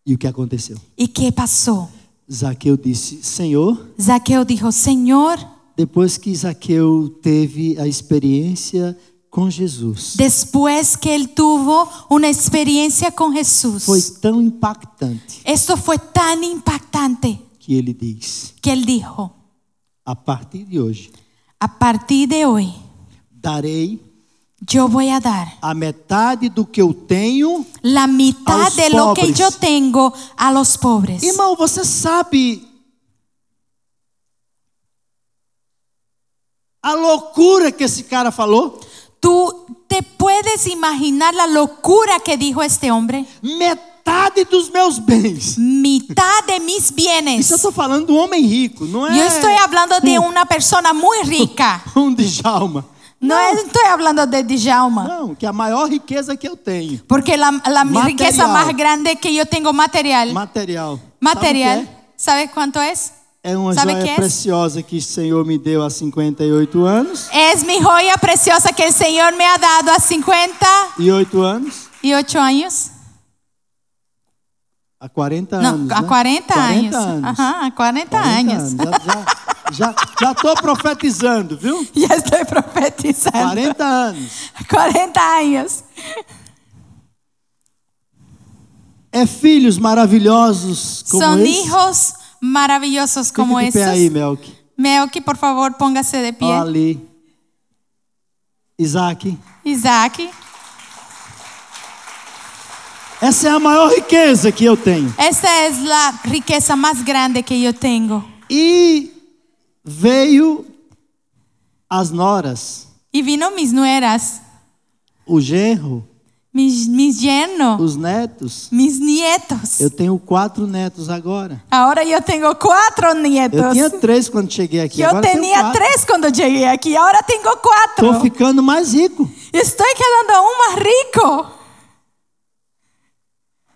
E o que aconteceu?
¿Y qué pasó?
Zaqueu disse: Senhor,
Saqueo dijo, Señor,
depois que Zaqueu teve a experiência com Jesus,
después que él tuvo una experiencia con Jesús,
foi tão impactante
esto fue tan impactante
que ele diz:
que él dijo,
A partir de hoje,
a partir de hoy
darei
yo voy a dar
a metade do que eu tenho.
la mitad
Aos
de lo que
pobres.
yo tengo a los pobres.
Irmão, você sabe a loucura que esse cara falou?
¿Tú te puedes imaginar la locura que dijo este hombre?
Metade dos meus bens.
Mitad de mis bienes.
Isso eu estou falando do homem rico, não é?
Yo estoy hablando
Mm.
de una persona muy rica.
Um Djalma.
No estoy hablando de Djalma.
Não, que é a maior riqueza que eu tenho.
Porque la, la
Material.
riqueza más grande que yo tengo material.
Material. Sabe o que
É. material. ¿Sabes cuánto es?
É É uma
Sabe
joia
que é?
preciosa que o Senhor me deu há 58 anos
Es mi joya preciosa que el Señor me ha dado a 58
e 8 anos,
años.
há 40
No,
anos,
a
né?
40, años.
anos.
Ajá, a
40
40, años.
anos. Já, já, já, já tô profetizando, viu?
Ya estoy profetizando.
40 anos.
40 años.
É filhos maravilhosos como
Son
esse.
hijos maravillosos
Fique
como
de pé aí,
estos.
Melk.
Melqui, por favor, póngase de pie.
Ó, Ali. Isaac.
Isaac.
Essa é a maior riqueza que eu tenho.
Esta es la riqueza más grande que yo tengo.
E veio as noras,
Y vino mis nueras,
o genro,
mis, mis yernos,
os netos.
mis nietos.
Eu tenho quatro netos agora.
Ahora yo tengo cuatro
Eu
nietos.
tinha três quando cheguei aqui.
Yo
agora tenho
tenía
quatro.
tres cuando llegué aquí, ahora tengo cuatro.
Tô ficando mais rico.
Estoy quedando aún más rico.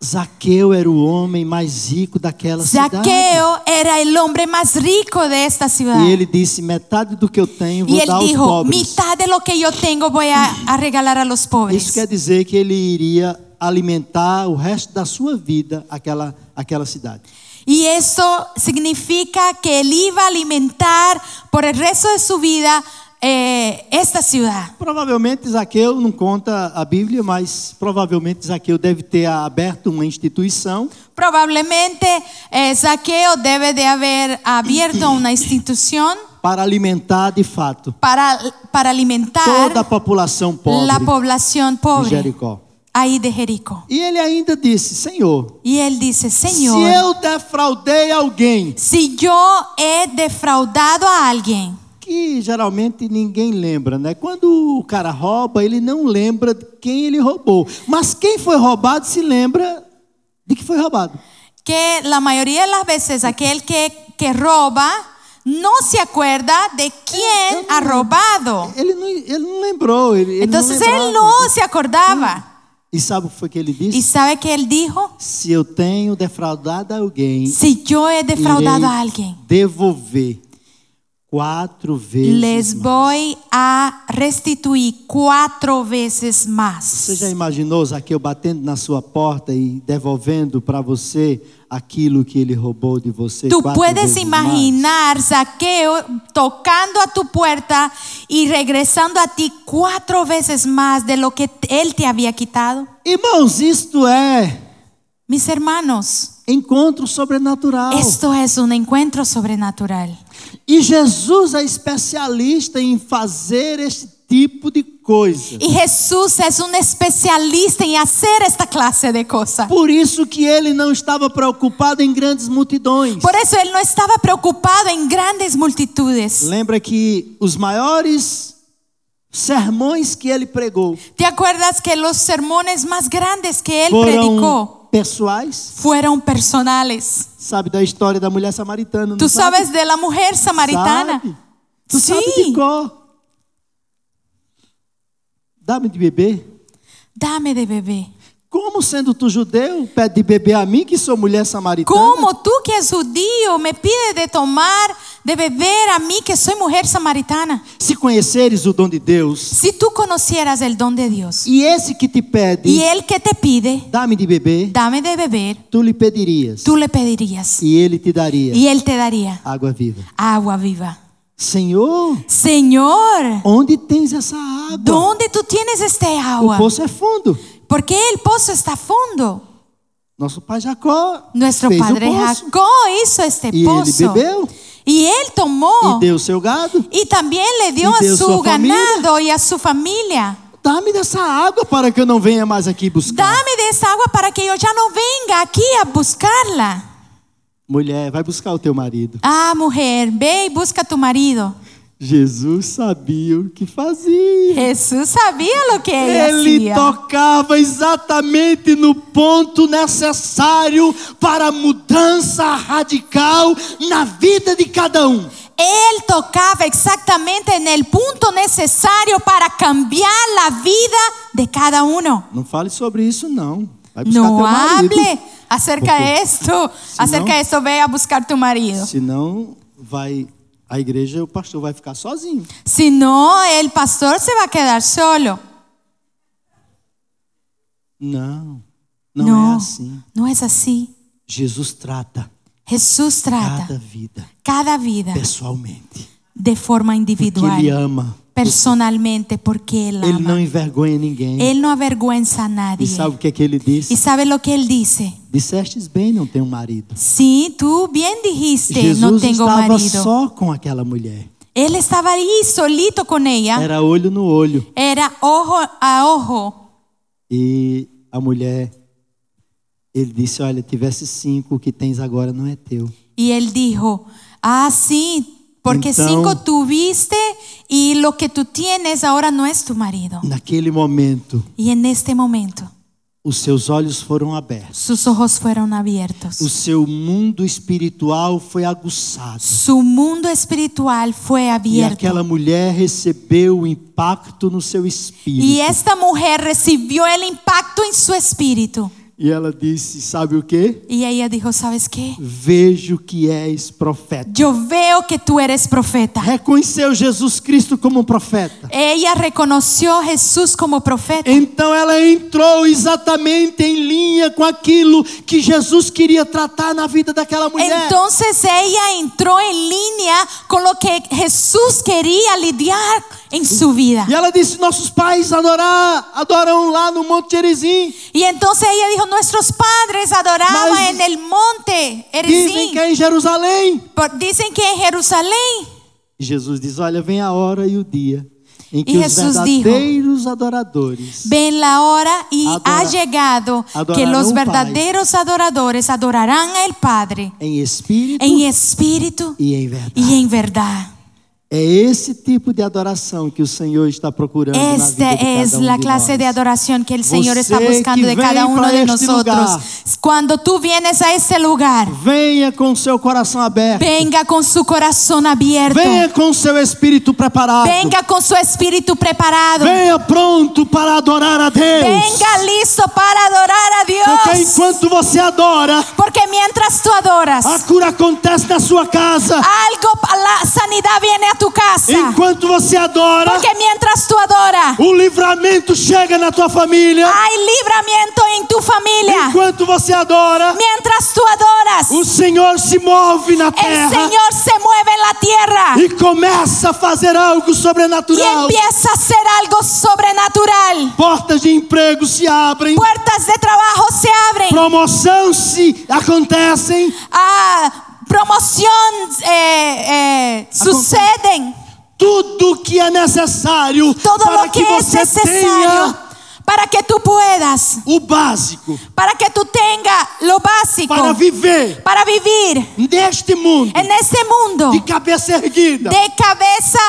Zaqueu era o homem mais rico daquela cidade.
Saqueo era el hombre más rico de esta ciudad.
E ele disse: metade do que eu tenho
Y
vou
él
dar aos
é. dijo,
pobres.
mitad de lo que yo tengo voy a, a regalar a los
Isso
pobres.
quer dizer que ele iria alimentar o resto da sua vida aquela, aquela cidade.
Y esto significa que él iba a alimentar por el resto de su vida eh, esta ciudad.
Provavelmente Zaqueu não conta a Bíblia, mas provavelmente Zaqueu deve ter aberto uma instituição
Probablemente eh, Zaqueo debe de haber abierto una institución
para alimentar de fato
para,
toda a
para alimentar
população
la
pobre
población
de
pobre
Jericó.
ahí de Jericó.
E ele ainda disse: Senhor,
Y él dice,
se
Señor,
eu defraudei alguém,
si yo he defraudado a alguien,
que geralmente ninguém lembra, né? Quando o cara rouba, ele não lembra de quem ele roubou. Mas quem foi roubado se lembra de que foi roubado.
que la mayoría de las veces aquel que, que roba no se acuerda de quién ha robado.
Ele não, ele não lembrou. Ele, ele
Entonces
não
él
lembrava.
no se acordaba.
E sabe o que foi que ele disse?
¿Y sabe que él dijo?
Se eu tenho defraudado alguém,
Si yo he defraudado
irei
a alguien.
devolver quatro vezes.
les
mais.
voy a restituir cuatro veces
Você já
más.
imaginou Zaqueu batendo na sua porta e devolvendo para você aquilo que ele roubou de você?
Tú
quatro
puedes
vezes mais?
imaginar saqueo tocando a tu puerta y regresando a ti cuatro veces más de lo que t- él te había quitado.
Irmãos, isto é
Mis hermanos,
encontro sobrenatural.
esto es un encuentro sobrenatural.
E Jesus é especialista em fazer este tipo de coisa.
Y Jesús es un especialista en hacer esta clase de cosas.
Por isso que ele não estava preocupado em grandes multidões.
Por eso él no estaba preocupado en grandes multitudes.
Lembra que os maiores sermões que ele pregou
¿Te acuerdas que los sermones más grandes que él predicó
foram pessoais?
fueron personales?
Sabe da história da mulher samaritana? não
Tú
sabe?
sabes de la mujer samaritana.
Sabe? Tu
Sim.
sabe de cor. Dá-me de beber.
Dame de bebé.
Como sendo tu judeu, pede de beber a mim que sou mulher samaritana?
¿Cómo tú que es judío me pides de tomar, de beber a mí que soy mujer samaritana?
Se conheceres o dom de Deus,
Si tú conocieras el don de Dios
e esse que te
y
pede,
él que te pide,
dá-me de beber,
dame de beber,
tu lhe pedirias,
tú le pedirías
e ele te daria
y él te daría
água viva.
agua viva.
Senhor,
Señor,
onde tens essa água?
¿dónde tú tienes este
O
agua?
poço é fundo.
Porque el pozo está a fondo.
Nosso pai Jacó
Nuestro
fez
padre
o poço,
Jacob hizo este
e ele
pozo.
bebeu,
Y él tomó.
e deu seu gado.
Y también le dio
y
a
dio
su
su familia.
ganado y a su familia.
Dá-me dessa água para que eu não venha mais aqui buscar.
Dame de esa agua para que yo ya no venga aquí a buscarla.
Mulher, vai buscar o teu marido.
Ah, mujer, ve y busca a tu marido.
Jesus sabia o que fazia.
Jesús sabía lo que ella
Ele
hacía.
tocava exatamente no ponto necessário para a mudança radical na vida de cada um.
Él tocaba exactamente en el punto necesario para cambiar la vida de cada uno.
Não fale sobre isso, não. Vai buscar teu
No
marido.
hable acerca de esto,
no-
acerca de esto, ve a buscar tu marido.
Senão, vai a igreja, o pastor vai ficar sozinho.
Si no, el pastor se va a quedar solo.
Não, não, é assim.
no es así.
Jesus trata
Jesús trata
cada vida
cada vida
pessoalmente.
de forma
Que ele
individual,
ama.
personalmente, porque Él
Ele não
ama.
envergonha ninguém.
Él no avergüenza
E
a nadie.
sabe o que, é que ele
Y
disse?
sabe lo que Él dice.
Dissestes bem, não tenho marido.
Sí, tú bien dijiste,
Jesus
no tengo
estava
marido.
só com aquela mulher.
Él estaba ahí solito con ella.
Era olho no olho.
Era ojo a ojo.
E a mulher, ele disse, olha, tivesse cinco, o que tens agora não é teu.
Y él dijo, ah, sí, porque
Então-
cinco tuviste y lo que tú tienes ahora no es tu marido.
Naquele momento,
Y en este momento
os seus olhos foram abertos.
sus ojos fueron abiertos.
O seu mundo espiritual foi aguçado.
Su mundo espiritual fue
E
abierto.
aquela mulher recebeu o impacto no seu espírito.
é- Y esta mujer recibió el impacto en su espíritu.
E ela disse: Sabe o que?
Y ella dijo, ¿sabes qué?
Vejo que és profeta.
Yo veo que tú eres profeta.
Reconheceu Jesus Cristo como um profeta.
Ella reconoció a Jesús como profeta.
Então ela entrou exatamente em linha com aquilo que Jesus queria tratar na vida daquela mulher.
Entonces ella entró en línea con lo que Jesús quería lidiar en su vida.
E ela disse: Nossos pais adorar, adoram lá no Monte Gerizim.
Y entonces ella dijo, nuestros padres adoraban
Mas-
en el monte
Dizem
Erizim.
que é em Jerusalém.
Por- Dizen que en Jerusalén.
E Jesus diz: Olha, vem a hora e o dia em que os
Jesus dijo,
verdadeiros adoradores
Ven la hora y
Adora-
ha llegado que
adorarán
los
al Padre.
verdaderos adoradores adorarán al Padre
em espírito
en espíritu
e em verdade.
y en verdad.
É esse tipo de adoração que o Senhor está procurando na vida
Esta é
de cada
Este es
um
la
de
clase
nós.
de adoración que el Señor está
Você que
buscando de
vem
cada uno
para
de
este
nosotros.
lugar.
Cuando tú vienes a este lugar,
Venha com seu coração aberto.
venga con su corazón abierto,
Venha com seu espírito preparado.
venga con su espíritu preparado,
Venha pronto para adorar a Deus.
venga listo para adorar a
Porque
Dios.
enquanto você adora,
Porque mientras tú adoras,
a cura acontece na sua casa.
algo, la sanidad viene a tu casa.
Enquanto você adora,
Porque mientras tú adoras,
o livramento chega na tua família.
hay libramiento en tu familia.
Enquanto você adora,
Mientras tú adoras,
o Senhor se move na
el
terra
Señor se mueve en la tierra
e começa a fazer algo
y
sobrenatural.
empieza a hacer algo sobrenatural.
Portas de emprego se abrem,
Puertas de trabajo se abren.
promoção se acontecem,
Ah, promoción eh, eh, suceden.
tudo que é necessário
Todo
para
lo que é
que
es
você
necesario
tenha
para que tú puedas,
o básico
para que tú tengas lo básico
para viver
para vivir
neste mundo
en este mundo
de cabeça erguida,
de cabeza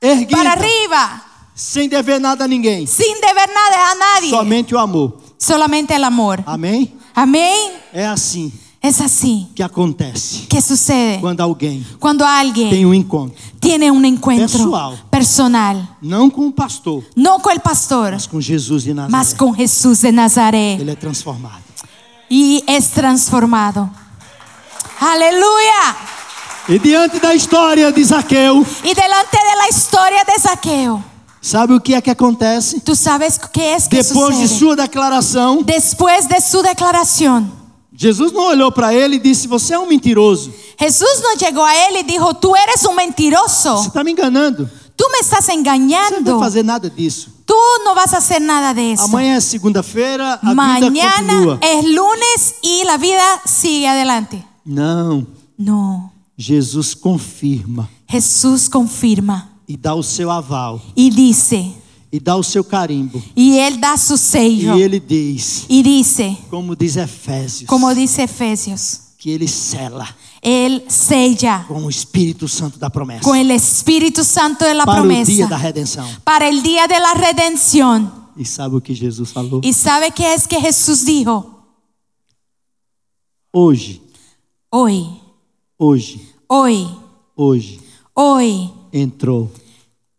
para
erguida,
arriba,
sem dever nada a ninguém,
sin deber nada a nadie,
somente o amor.
solamente el amor.
Amém?
Amén.
É assim
Es así
que acontece
que sucede
quando alguém
cuando alguien
tem um encontro,
tiene un encuentro
Personal.
personal,
não com o pastor,
no con el pastor,
mas com Jesus de Nazaré.
mas con Jesús de Nazaret
Ele é transformado.
y es transformado. Aleluya.
E diante da história de Zaqueu,
Y delante de la historia de Saqueo,
sabe o que é que acontece?
tú sabes qué es que
Depois de
sucede.
sua declaração,
Después de su declaración,
Jesus não olhou para ele e disse: Você é um mentiroso,
Jesús no llegó a él y dijo, tú eres un mentiroso.
você está me enganando,
Tú me estás
você não vai
engañando.
fazer nada disso.
Tú no vas a hacer nada de eso.
Amanhã é segunda-feira, a vida
Mañana
continua.
es lunes y la vida sigue adelante.
Não,
No,
Jesus confirma
Jesús confirma
e dá o seu aval,
y dice,
e dá o seu carimbo,
y él da su
e
sello
ele diz,
y dice,
como diz Efésios,
como dice Efesios,
que ele sela
él sella
com o Espírito Santo da promessa
con el Espíritu Santo de la
para o dia da
promesa
redenção.
para el día de la redención.
E sabe o que Jesus falou?
¿Y sabe qué es que Jesús dijo?
Hoje,
Hoy,
hoje,
hoy,
hoje
hoy
entrou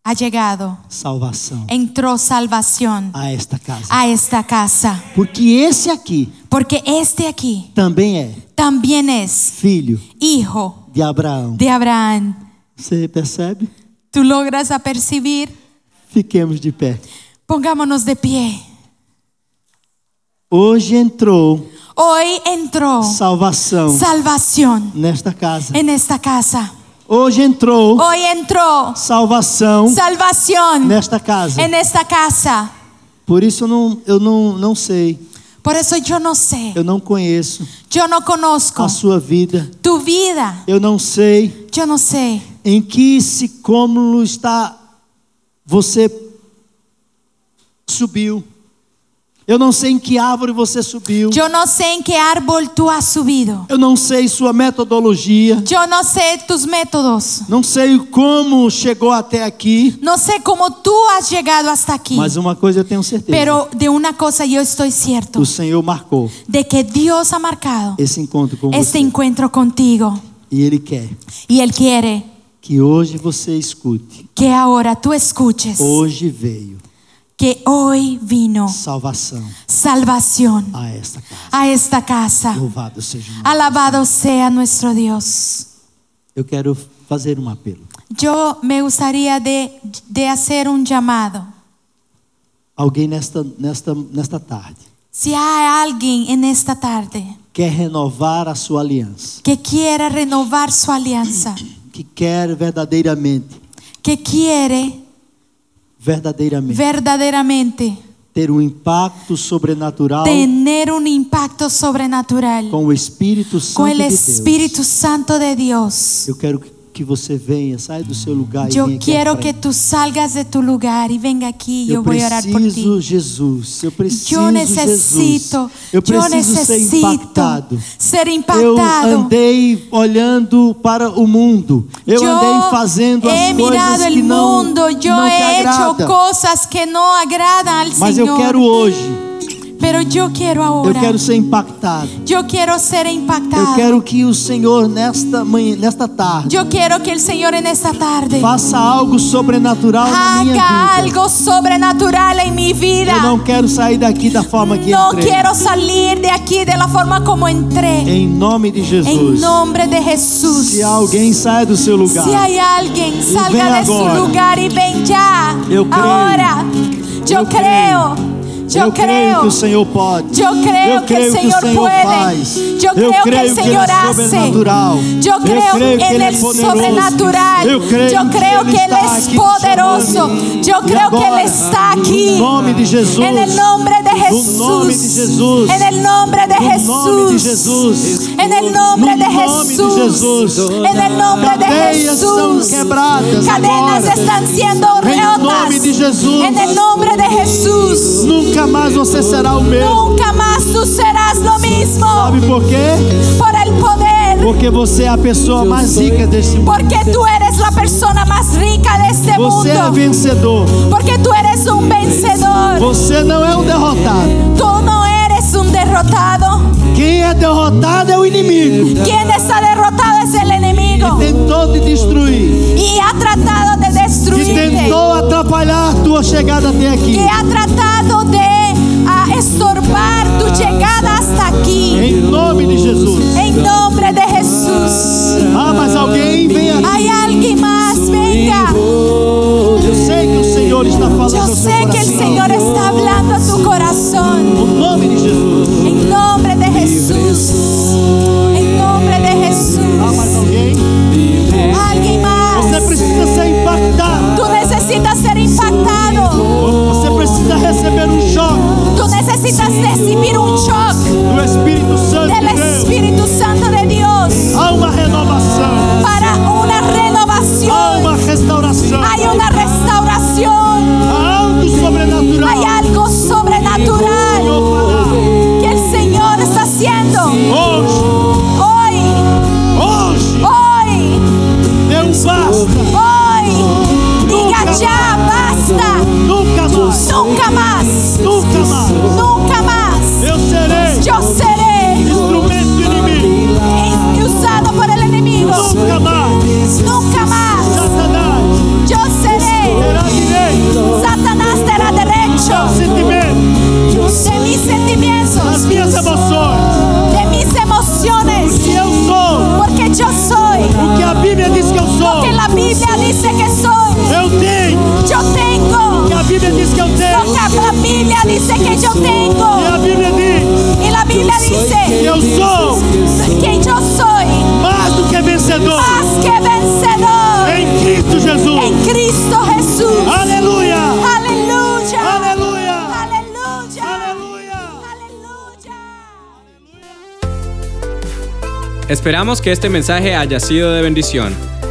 ha llegado,
salvação
entró salvación
a esta casa.
a esta casa.
Porque esse aqui
Porque este aquí
também é
también es
filho
hijo
de Abraão.
de Abraham.
Você percebe?
¿Tú logras apercibir?
Fiquemos de pé.
Pongámonos de pie.
Hoje entrou
Hoy entró
salvação
salvación
nesta casa.
en esta casa.
Hoje entrou
Hoy entró
salvação
salvación
nesta casa.
en esta casa.
Por isso eu não, eu não, não sei,
Por eso yo no sé,
eu não conheço
yo no conozco
a sua vida.
tu vida,
Eu não sei
yo no sé
em que esse cômulo está você subiu. Eu não sei em que árvore você subiu.
Yo no sé en qué árbol tú has subido.
Eu não sei sua metodologia.
Yo no sé tus métodos.
Não sei como chegou até aqui.
No sé cómo tú has llegado hasta aquí.
Mas uma coisa eu tenho certeza.
Pero de una cosa yo estoy cierto,
O Senhor marcou
de que Dios ha marcado
esse encontro com
este
você.
encuentro contigo.
E Ele quer
Y Él quiere
que hoje você escute.
que ahora tú escuches
Hoje veio
que hoy vino
salvação
salvación
a esta casa.
a esta casa.
Louvado seja o nome.
Alabado sea nuestro Dios.
Eu quero fazer um apelo.
Yo me gustaría de, de hacer un llamado.
Alguém nesta, nesta, nesta tarde
Si hay alguien en esta tarde
quer renovar a sua aliança,
que quiera renovar su alianza,
que quer verdadeiramente,
que quiere
verdadeiramente
verdaderamente
ter um impacto sobrenatural
tener un impacto sobrenatural
com o Espírito Santo
con el
de Deus.
Espíritu Santo de Dios.
Eu quero que- que você venha, saia do seu lugar e
Yo
venha aqui à
quiero que
frente.
tú salgas de tu lugar y venga aquí. Yo
Eu
voy a orar por
preciso
ti.
Jesus, eu preciso
Yo
Jesus.
necesito,
Eu
yo
preciso ser
necesito
impactado.
ser
Eu
impactado.
andei olhando para o mundo. Eu,
Yo
andei fazendo
he
as
mirado
coisas
el
que não,
mundo, yo
não te
he hecho
agrada.
cosas que no agradan al
Mas eu
Señor.
quero hoje.
Pero yo quiero
Eu
ahora.
quero ser impactado.
yo quiero ser impactado.
Eu quero que o Senhor nesta manhã, nesta tarde,
Yo quiero que el Señor en esta tarde
faça algo sobrenatural na minha
haga
vida.
algo sobrenatural en mi vida.
Eu não quero sair daqui da forma que
No
entrei.
quiero salir de aquí de la forma como entré.
Em nome de
En
Jesus.
nombre de Jesús.
Se alguém sai do seu lugar,
Si hay alguien,
ven
salga de su
ahora.
lugar y ven ya.
Yo creo.
Ahora. Yo
Yo
creo. Yo
eu creio
creo.
que o Senhor pode.
Yo creo
eu
que
creio que
el
o
Señor
Senhor faz.
puede. Yo
eu
creo que
creio
el
que Ele
Señor
é
hace.
sobrenatural.
Yo
eu
creo
creio que
en
Ele é
el
poderoso.
sobrenatural.
Eu creio, é
Yo creo que Él
está
es
aqui te
poderoso.
chamando.
Yo
E
creo que Él
agora,
está aquí.
No nome de Jesus.
En el nombre de Jesús.
nome de Jesus.
En el nombre de
No nome de
Jesús.
Jesus.
En el nombre de
No nome de
Jesús.
Jesus.
En el nombre de
Cadeias são
Jesús.
quebradas
Cadenas
agora.
están siendo
Em nome de
rotas.
Jesus.
En el nombre de Jesús.
Nunca mais você será o mesmo.
Nunca más tú serás lo mismo.
Sabe por quê?
Por el poder.
Porque você é a pessoa mais rica desse mundo.
Porque tú eres la persona más rica de este
Você é
mundo.
vencedor.
Porque tú eres un vencedor.
Você não é um derrotado.
Tú no eres un derrotado.
Quem é derrotado é o inimigo.
Quien está derrotado es el enemigo.
Tentou te destruir.
Y ha tratado de
Que
destruirte.
tentou atrapalhar a tua chegada até aqui.
Que ha tratado de ah, estorbar tu llegada hasta aquí.
Em nome de Jesus.
En nombre de Jesús.
Ah, mas alguém vem aqui.
Hay alguien más. Venga.
Eu sei que o Senhor está falando
Yo
ao seu
sé que é el
coração.
Señor está hablando a tu corazón.
No nome de Jesus.
En nombre de Jesús. En nombre de
Ah,
Jesús.
mas alguém.
Alguien
Você
más.
precisa ser impactado.
Tú necesitas ser impactado.
Você precisa receber um choque
Tú necesitas recibir un shock
do Espírito Santo
del
de Deus.
Espíritu Santo de Dios
Há uma renovação.
para una
Há
renovación.
uma restauração.
Hay una restauración.
Há algo sobrenatural.
Hay algo sobrenatural que el Señor está haciendo
Hoje,
hoy,
hoje,
hoy.
deu um basta.
Hoy, diga
Nunca
ya, basta,
Nunca mais,
nunca más,
nunca mais.
nunca más.
Eu serei
Yo seré
instrumento do inimigo.
usado por el enemigo,
Nunca mais.
nunca más.
Satanás
Yo seré,
terá direito
Satanás será
aos
derecho
sentimentos,
de mis
às
sentimientos,
minhas emoções.
de mis emociones,
Que eu sou
porque yo soy
o que a Bíblia diz que eu
lo
sou.
que la Biblia dice que soy.
Eu tenho
Yo tengo
o que a Bíblia diz que eu
lo
tenho.
que la Biblia dice que yo tengo.
E a Bíblia diz
Y la Biblia
que
dice
eu sou
que yo soy.
mais do que vencedor
más que vencedor
em Cristo Jesus.
en Cristo Jesús.
Aleluia!
Aleluya.
Aleluya.
Aleluya.
Aleluya.
Aleluya.
Esperamos que este mensaje haya sido de bendición.